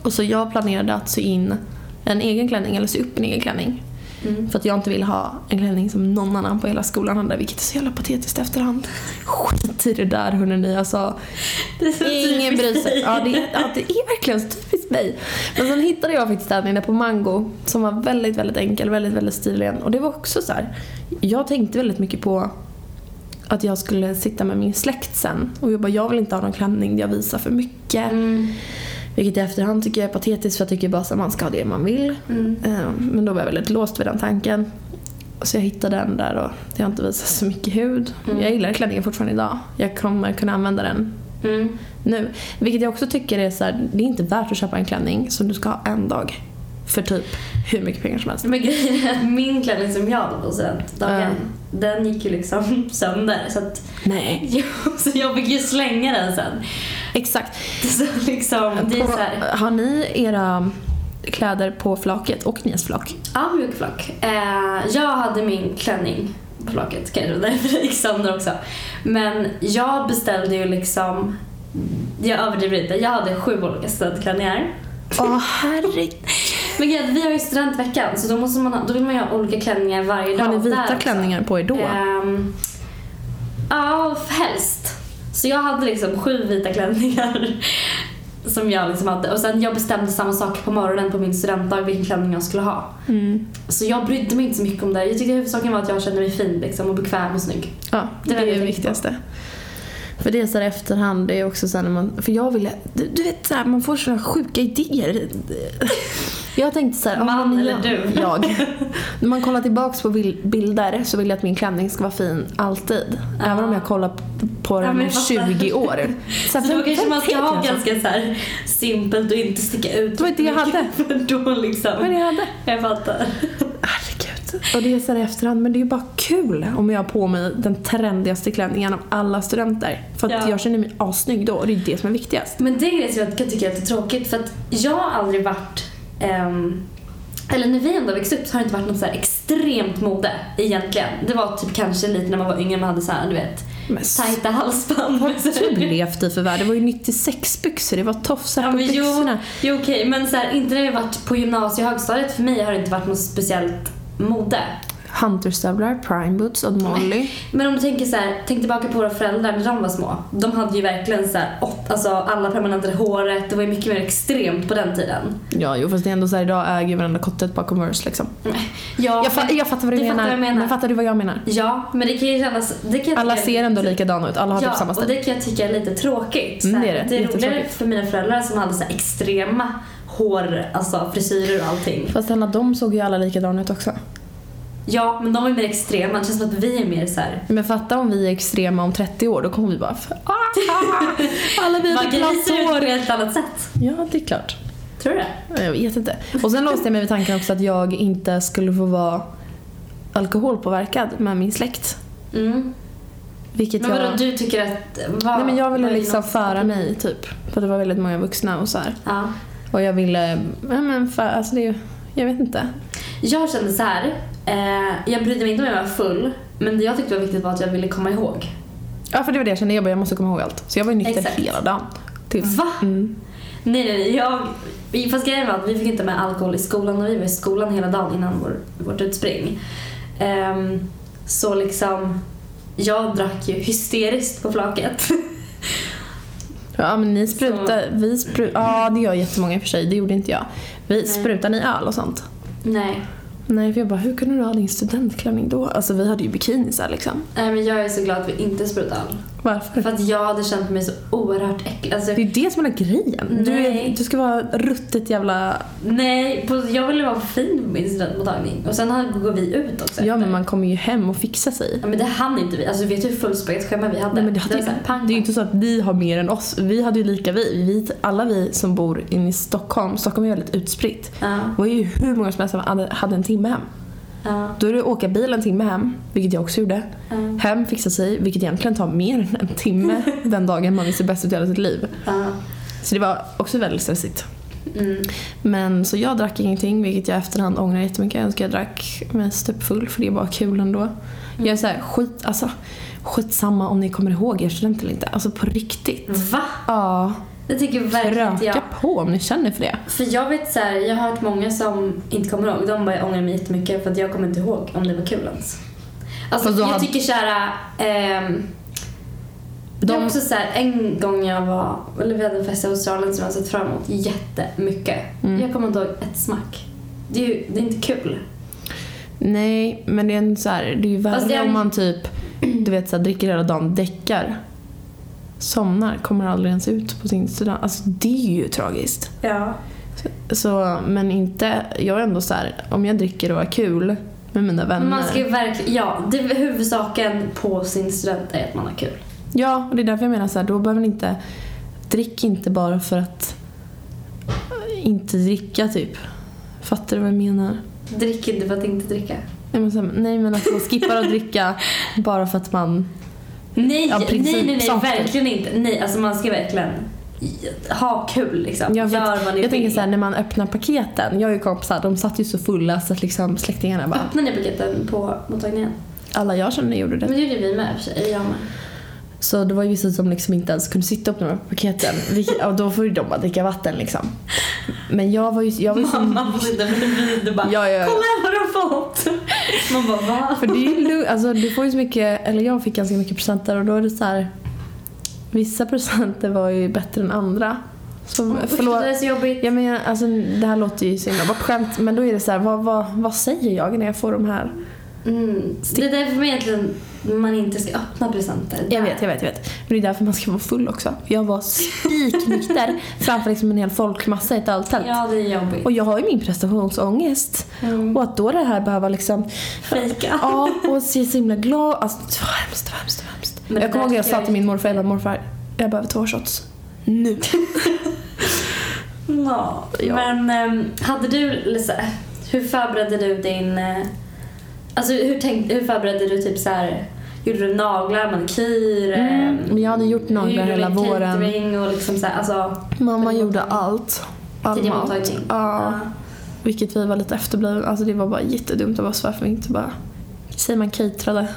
Speaker 1: Och så jag planerade att sy in en egen klänning, eller sy upp en egen klänning.
Speaker 2: Mm.
Speaker 1: För att jag inte ville ha en klänning som någon annan på hela skolan hade, vilket är så jävla patetiskt i efterhand. Skit i det där hörni, alltså.
Speaker 2: Det är så
Speaker 1: Ingen
Speaker 2: typiskt
Speaker 1: bryr sig.
Speaker 2: dig.
Speaker 1: Ja det, är- ja, det är verkligen så typiskt mig. Men sen hittade jag faktiskt städningen på Mango som var väldigt, väldigt enkel, väldigt, väldigt stilren. Och det var också så här. jag tänkte väldigt mycket på att jag skulle sitta med min släkt sen. Och jag bara, jag vill inte ha någon klänning där jag visar för mycket.
Speaker 2: Mm.
Speaker 1: Vilket i efterhand tycker jag är patetiskt för jag tycker bara att man ska ha det man vill.
Speaker 2: Mm.
Speaker 1: Eh, Men då var jag väldigt låst vid den tanken. Så jag hittade den där och det har inte visat så mycket hud.
Speaker 2: Mm.
Speaker 1: Jag gillar klänningen fortfarande idag. Jag kommer kunna använda den
Speaker 2: Mm.
Speaker 1: nu. Vilket jag också tycker är så här, det är inte värt att köpa en klänning som du ska ha en dag. För typ hur mycket pengar som helst.
Speaker 2: Men grejen är att min klänning som jag hade på studentdagen,
Speaker 1: Ja.
Speaker 2: den gick ju liksom sönder. Så, att,
Speaker 1: Nej.
Speaker 2: så jag fick ju slänga den sen.
Speaker 1: Exakt.
Speaker 2: Så liksom, det är
Speaker 1: På-
Speaker 2: så här,
Speaker 1: Har ni era kläder på flaket och nyhetsflak?
Speaker 2: ja mjukflock. Eh, jag hade min klänning på flaket kanske, därför det gick sönder också. Men jag beställde ju liksom, jag överdriver inte, jag hade sju olika studentklänningar.
Speaker 1: Åh herregud.
Speaker 2: Men grejen är att vi har ju studentveckan så då, måste man ha, då vill man ju ha olika klänningar varje dag.
Speaker 1: Har ni
Speaker 2: där
Speaker 1: vita
Speaker 2: också.
Speaker 1: klänningar på er då?
Speaker 2: Ehm, Ja, helst. Så jag hade liksom sju vita klänningar som jag liksom hade. Och sen jag bestämde samma sak på morgonen på min studentdag vilken klänning jag skulle ha.
Speaker 1: Mm.
Speaker 2: Så jag brydde mig inte så mycket om det. Jag tyckte huvudsaken var att jag kände mig fin liksom, och bekväm och snygg.
Speaker 1: Ja, det,
Speaker 2: Det var
Speaker 1: är
Speaker 2: det jag
Speaker 1: det
Speaker 2: tänkte
Speaker 1: viktigaste. För det är så här i efterhand, det är också så här när man... För jag ville... Du, du vet så här, man får sådana sjuka idéer. Jag tänkte så här, ja,
Speaker 2: Man
Speaker 1: men
Speaker 2: eller
Speaker 1: jag,
Speaker 2: du?
Speaker 1: Jag. När man kollar tillbaks på bil- bilder så vill jag att min klänning ska vara fin alltid.
Speaker 2: Ja.
Speaker 1: Även om jag kollar p- på
Speaker 2: Ja,
Speaker 1: den
Speaker 2: men
Speaker 1: om
Speaker 2: jag fattar.
Speaker 1: 20 år.
Speaker 2: Så,
Speaker 1: här,
Speaker 2: då
Speaker 1: vem-
Speaker 2: kanske
Speaker 1: vem
Speaker 2: man ska
Speaker 1: vet
Speaker 2: ha
Speaker 1: jag?
Speaker 2: ganska så här simpelt och inte sticka ut.
Speaker 1: Det var inte det jag hade.
Speaker 2: För då liksom.
Speaker 1: Men jag hade.
Speaker 2: Jag fattar.
Speaker 1: Herregud. Och det är så här i efterhand, men det är ju bara kul om jag har på mig den trendigaste klänningen av alla studenter. För att
Speaker 2: Ja.
Speaker 1: jag känner mig assnygg då och det är det som är viktigast.
Speaker 2: Men det är det som jag kan tycka är lite tråkigt för att jag har aldrig varit ehm, eller när vi ändå växte upp så har det inte varit något så här extremt mode egentligen. Det var typ kanske lite när man var yngre man hade så här, du vet,
Speaker 1: Men
Speaker 2: tajta halsband.
Speaker 1: du levt i för värld? Det var ju 96 byxor, det var tofsar
Speaker 2: Ja,
Speaker 1: på
Speaker 2: men jo.
Speaker 1: byxorna.
Speaker 2: Jo okej, men så här, inte när vi varit på gymnasie och högstadiet för mig har det inte varit något speciellt mode.
Speaker 1: Hunterstövlar, prime boots och Molly.
Speaker 2: Men om du tänker så här, tänk tillbaka på våra föräldrar när de var små. De hade ju verkligen så här, åt, alltså alla permanentade håret, det var ju mycket mer extremt på den tiden.
Speaker 1: Ja, jo fast det är ändå så här, idag äger varenda kotte ett par Converse liksom.
Speaker 2: Ja,
Speaker 1: Jag, fa- jag fattar vad du,
Speaker 2: Du fattar
Speaker 1: menar.
Speaker 2: vad jag menar.
Speaker 1: Men fattar du vad jag menar?
Speaker 2: Ja, men det kan ju kännas... Det kan jag
Speaker 1: Alla
Speaker 2: tycka-
Speaker 1: ser ändå likadana ut, alla har
Speaker 2: ja,
Speaker 1: typ samma
Speaker 2: och
Speaker 1: stil.
Speaker 2: det kan jag tycka är lite tråkigt.
Speaker 1: Mm,
Speaker 2: Så här,
Speaker 1: det är det.
Speaker 2: det är roligare
Speaker 1: Jättetråkigt.
Speaker 2: för mina föräldrar som hade så här extrema hår, alltså frisyrer och allting.
Speaker 1: Fast alla de såg ju alla likadana ut också.
Speaker 2: Ja, men de är mer extrema. Det känns som att vi är mer så här.
Speaker 1: Men fatta om vi är extrema om 30 år, då kommer vi bara för... Ah! Alla vi typ
Speaker 2: Man
Speaker 1: hade
Speaker 2: kan visa ut på
Speaker 1: plattor.
Speaker 2: ett helt annat sätt.
Speaker 1: Ja, det är klart.
Speaker 2: Tror du det?
Speaker 1: Jag vet inte. Och sen låste jag mig vid tanken också att jag inte skulle få vara alkoholpåverkad med min släkt.
Speaker 2: Mm.
Speaker 1: Vilket
Speaker 2: Men vadå,
Speaker 1: jag...
Speaker 2: du tycker att... Vad,
Speaker 1: Nej men jag ville
Speaker 2: vad är
Speaker 1: liksom
Speaker 2: något-
Speaker 1: föra mig typ. För det var väldigt många vuxna och så här.
Speaker 2: Ja.
Speaker 1: Och jag ville, ja men för, alltså det är ju, jag vet inte.
Speaker 2: Jag kände så här. Eh, jag brydde mig inte om jag var full, men det jag tyckte var viktigt var att jag ville komma ihåg.
Speaker 1: Ja för det var det jag kände, jag bara jag måste komma ihåg allt. Så jag var ju nykter
Speaker 2: Exakt.
Speaker 1: hela dagen. Tills.
Speaker 2: Va?
Speaker 1: Mm.
Speaker 2: Nej, nej, nej. Jag, fast grejen var att vi fick inte med alkohol i skolan och vi var i skolan hela dagen innan vår, vårt utspring. Ehm, så liksom, jag drack ju hysteriskt på flaket.
Speaker 1: Ja men ni sprutar, vi sprutar, ja det gör jättemånga i och för sig, det gjorde inte jag. Vi,
Speaker 2: Nej.
Speaker 1: Sprutar ni öl och sånt?
Speaker 2: nej,
Speaker 1: Nej för jag bara, hur kunde du ha din studentklänning då? Alltså vi hade ju bikinisar liksom.
Speaker 2: nej, men jag är så glad att vi inte sprutade öl.
Speaker 1: Varför?
Speaker 2: För att jag hade känt mig så oerhört äcklig. Alltså,
Speaker 1: Det är ju det som är grejen. Du, är,
Speaker 2: Nej.
Speaker 1: du ska vara ruttet jävla...
Speaker 2: nej, på, jag ville vara fin på min studentmottagning. Och sen hade- går vi ut också.
Speaker 1: Ja
Speaker 2: efter.
Speaker 1: men man kommer ju hem och fixar sig.
Speaker 2: Ja, men det hann inte vi. Alltså, vet du hur fullspäckat schema vi hade?
Speaker 1: Nej, men det,
Speaker 2: var
Speaker 1: hade,
Speaker 2: så här, pang,
Speaker 1: det är ju
Speaker 2: pang.
Speaker 1: inte så att ni har mer än oss. Vi hade ju lika vi. vi alla vi som bor inne i Stockholm, Stockholm är ju väldigt utspritt.
Speaker 2: Ja,
Speaker 1: Det var ju hur många som helst som hade, hade en timme hem.
Speaker 2: ja,
Speaker 1: Då är det att åka bil en timme hem, vilket jag också gjorde.
Speaker 2: ja,
Speaker 1: Hem, fixa sig, vilket egentligen tar mer än en timme den dagen man vill se bäst ut i hela sitt liv.
Speaker 2: ja.
Speaker 1: Så det var också väldigt stressigt.
Speaker 2: Mm.
Speaker 1: Men så jag drack ingenting, vilket jag i efterhand ångrar jättemycket. Jag önskar jag drack mig stupfull för det var kul ändå.
Speaker 2: Mm.
Speaker 1: Jag är såhär, skit, alltså, skitsamma om ni kommer ihåg er student eller inte. Alltså på riktigt.
Speaker 2: Va?
Speaker 1: Ja.
Speaker 2: Jag tycker verkligen
Speaker 1: Röka
Speaker 2: inte jag.
Speaker 1: på om ni känner för det.
Speaker 2: För jag vet så här, jag har hört många som inte kommer ihåg. De bara, jag ångrar mig jättemycket för att jag kommer inte ihåg om det var kul ens. Alltså
Speaker 1: Fast då
Speaker 2: jag
Speaker 1: hade-
Speaker 2: tycker såhär... Ehm, Det är
Speaker 1: De,
Speaker 2: också så här, en gång jag var, eller vi hade en fest i Australien som jag har sett fram emot jättemycket.
Speaker 1: Mm.
Speaker 2: Jag kommer inte ihåg ett smack. Det är ju det är inte kul.
Speaker 1: nej, men det är, en så här, det är ju värre
Speaker 2: Fast det är-
Speaker 1: om man typ du vet, så här, dricker hela dagen, däckar, somnar, kommer aldrig ens ut på sin student. Alltså det är ju tragiskt.
Speaker 2: Ja.
Speaker 1: Så, men inte, jag är ändå så här, om jag dricker och har kul med mina vänner.
Speaker 2: Man ska ju
Speaker 1: eh,
Speaker 2: verkligen, ja, det är huvudsaken på sin student är att man har kul.
Speaker 1: Ja, och det är därför jag menar så här, då behöver ni inte, drick inte bara för att eh, inte dricka typ. Fattar du vad jag menar?
Speaker 2: Drick inte för att inte dricka.
Speaker 1: Nej men, så här, nej, men alltså skippa att dricka bara för att man...
Speaker 2: Nej,
Speaker 1: Ja,
Speaker 2: nej,
Speaker 1: princip-
Speaker 2: nej, nej,
Speaker 1: saker.
Speaker 2: verkligen inte. Nej, alltså man ska verkligen ha kul liksom.
Speaker 1: Jag,
Speaker 2: Gör vad ni
Speaker 1: jag tänker
Speaker 2: vill.
Speaker 1: så här, när man öppnar paketen, jag har ju kompisar, de satt ju så fulla så att liksom släktingarna bara...
Speaker 2: Öppnar ni paketen på mottagningen?
Speaker 1: Alla jag kände gjorde
Speaker 2: Men
Speaker 1: det.
Speaker 2: det gjorde vi med i och för sig. Eller jag med.
Speaker 1: Så det var ju vissa som liksom inte ens kunde sitta upp de här paketen. Vilket, ja, då får ju de bara dricka vatten liksom. Men jag var ju... Jag var ju så-
Speaker 2: Mamma sitter bredvid och bara
Speaker 1: Ja, ja, ja.
Speaker 2: Kolla vad du har fått! Man bara va?
Speaker 1: För det är ju lugnt. Alltså, du får ju så mycket, eller jag fick ganska mycket presenter och då är det så här. Vissa presenter var ju bättre än andra. Så,
Speaker 2: Usch,
Speaker 1: förlåt.
Speaker 2: Det där är så jobbigt.
Speaker 1: Jag menar, alltså, det här låter ju så himla bortskämt men då är det så här, vad, vad, vad säger jag när jag får de här?
Speaker 2: Mm. Det är därför man egentligen man inte ska öppna presenter.
Speaker 1: Jag vet, jag vet, jag vet. Men det är därför man ska vara full också. Jag var spiknykter framför liksom en hel folkmassa i ett öltält.
Speaker 2: Ja, det är jobbigt.
Speaker 1: Och jag har ju min prestationsångest.
Speaker 2: Mm.
Speaker 1: Och att då det här behöva liksom
Speaker 2: Fejka.
Speaker 1: Ja, och se så himla glad. Alltså det var hemskt, det var hemskt, det var hemskt.
Speaker 2: Men det
Speaker 1: jag kommer
Speaker 2: där
Speaker 1: ihåg att jag
Speaker 2: tycker
Speaker 1: sa
Speaker 2: jag
Speaker 1: till
Speaker 2: är
Speaker 1: min morfar, jag bara, morfar, jag behöver två shots. Nu.
Speaker 2: Ja.
Speaker 1: Ja.
Speaker 2: Men ehm, hade du, Lisa, hur förberedde du din... eh, Alltså hur, tänkte, hur förberedde du typ så här... Gjorde du naglar, manikyr?
Speaker 1: Mm,
Speaker 2: ehm,
Speaker 1: men jag hade gjort naglar
Speaker 2: gjorde du
Speaker 1: hela
Speaker 2: catering
Speaker 1: våren.
Speaker 2: och liksom så här, alltså...
Speaker 1: Mamma
Speaker 2: Till din
Speaker 1: gjorde
Speaker 2: mottagning.
Speaker 1: allt. All
Speaker 2: Till din
Speaker 1: mat.
Speaker 2: mottagning.
Speaker 1: Ja, vilket vi var lite efterblivna. Alltså det var bara jättedumt av oss varför vi inte bara, säger man caterade?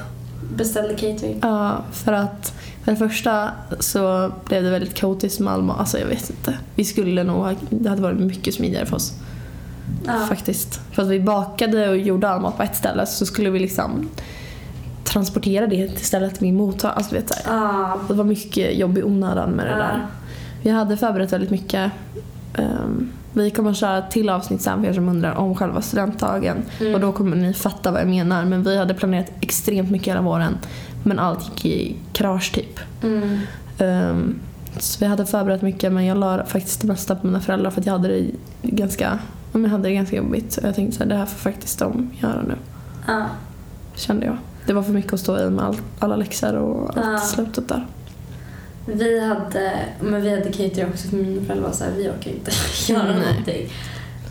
Speaker 2: Beställde catering.
Speaker 1: Ja, för att för det första så blev det väldigt kaotiskt med all mat. Alltså jag vet inte. Vi skulle nog ha, det hade varit mycket smidigare för oss.
Speaker 2: Ja.
Speaker 1: faktiskt. För att vi bakade och gjorde all mat på ett ställe så skulle vi liksom transportera det till stället till min mottagning. Alltså, du vet, så här.
Speaker 2: Ja.
Speaker 1: det var mycket jobb i onödan med det
Speaker 2: Ja.
Speaker 1: där. Vi hade förberett väldigt mycket. Ehm, vi kommer att köra ett till avsnitt sen för er som undrar om själva studentdagen.
Speaker 2: Mm.
Speaker 1: Och då kommer ni fatta vad jag menar. Men vi hade planerat extremt mycket hela våren. Men allt gick i krasch typ.
Speaker 2: Mm.
Speaker 1: Ehm, så vi hade förberett mycket men jag la faktiskt det mesta på mina föräldrar för att jag hade det ganska, ja, men jag hade det ganska jobbigt. Så jag tänkte att det här får faktiskt de göra nu,
Speaker 2: Ja.
Speaker 1: kände jag. Det var för mycket att stå i med all, alla läxor och allt
Speaker 2: Ja.
Speaker 1: i slutet där.
Speaker 2: Vi hade, men vi hade catering också för mina föräldrar var såhär, vi orkar inte göra
Speaker 1: Mm, nej.
Speaker 2: någonting.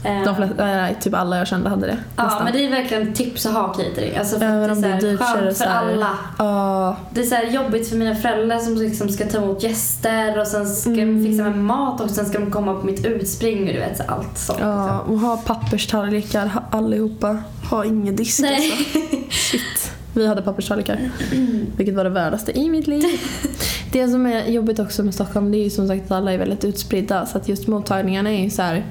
Speaker 2: Eh,
Speaker 1: De flesta, nej, typ alla jag kände hade det.
Speaker 2: Ja
Speaker 1: nästan.
Speaker 2: men det är verkligen tips att ha catering. Alltså för
Speaker 1: Även
Speaker 2: att
Speaker 1: om
Speaker 2: det
Speaker 1: det
Speaker 2: är,
Speaker 1: är
Speaker 2: så
Speaker 1: dyrt så är
Speaker 2: här
Speaker 1: det
Speaker 2: skönt
Speaker 1: så
Speaker 2: för
Speaker 1: här-
Speaker 2: alla.
Speaker 1: Ja,
Speaker 2: Det är så här jobbigt för mina föräldrar som liksom ska ta emot gäster och sen ska
Speaker 1: Mm.
Speaker 2: de fixa med mat och sen ska de komma på mitt utspring och du vet så här, allt sånt.
Speaker 1: ja, och ha papperstallrikar ha- allihopa. Ha ingen disk
Speaker 2: Nej.
Speaker 1: alltså. Shit. Vi hade papperstallrikar, vilket var det värdaste i mitt liv. Det som är jobbigt också med Stockholm det är ju som sagt att alla är väldigt utspridda så att just mottagningarna är ju så här.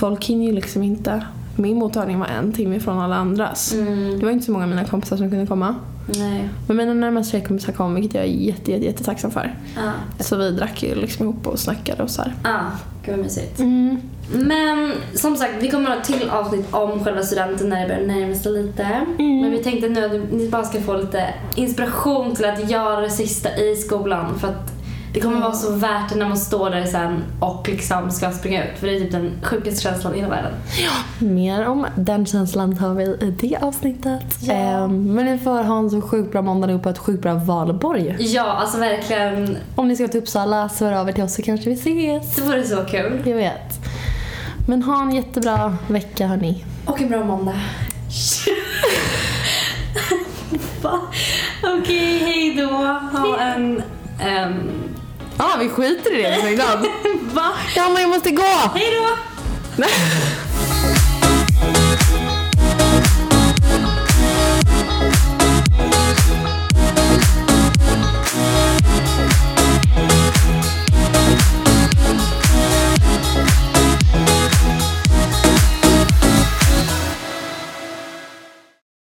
Speaker 1: Folk hinner ju liksom inte. Min mottagning var en timme från alla andras.
Speaker 2: Mm.
Speaker 1: Det var inte så många av mina kompisar som kunde komma.
Speaker 2: Nej.
Speaker 1: Men mina närmaste tjejkompisar kom vilket jag är jätte, jätte, jätte tacksam för.
Speaker 2: Ja.
Speaker 1: Så vi drack ju liksom ihop och snackade och så här.
Speaker 2: Ja, gud vad mysigt.
Speaker 1: Mm.
Speaker 2: Men som sagt, vi kommer ha ett till avsnitt om själva studenten när det börjar närma sig lite. Men vi tänkte nu att ni bara ska få lite inspiration till att göra det sista i skolan. För att det kommer vara så värt det när man står där sen och liksom ska springa ut. För det är typ den sjukaste känslan i hela världen.
Speaker 1: Mer om den känslan tar vi i det avsnittet.
Speaker 2: Ja.
Speaker 1: Ehm, men ni får ha en så sjukt bra måndag och på ett sjukt bra valborg.
Speaker 2: Ja, alltså verkligen.
Speaker 1: Om ni ska till Uppsala så hör av er till oss så kanske vi ses.
Speaker 2: Det vore så kul.
Speaker 1: Jag vet. Men ha en jättebra vecka hörni.
Speaker 2: Och en bra måndag. Va? Okej, hej då. Ha en... ehm,
Speaker 1: Ja, ah, vi skiter i det. Jag är så glad.
Speaker 2: Va?
Speaker 1: Ja, men jag måste gå!
Speaker 2: Hej då!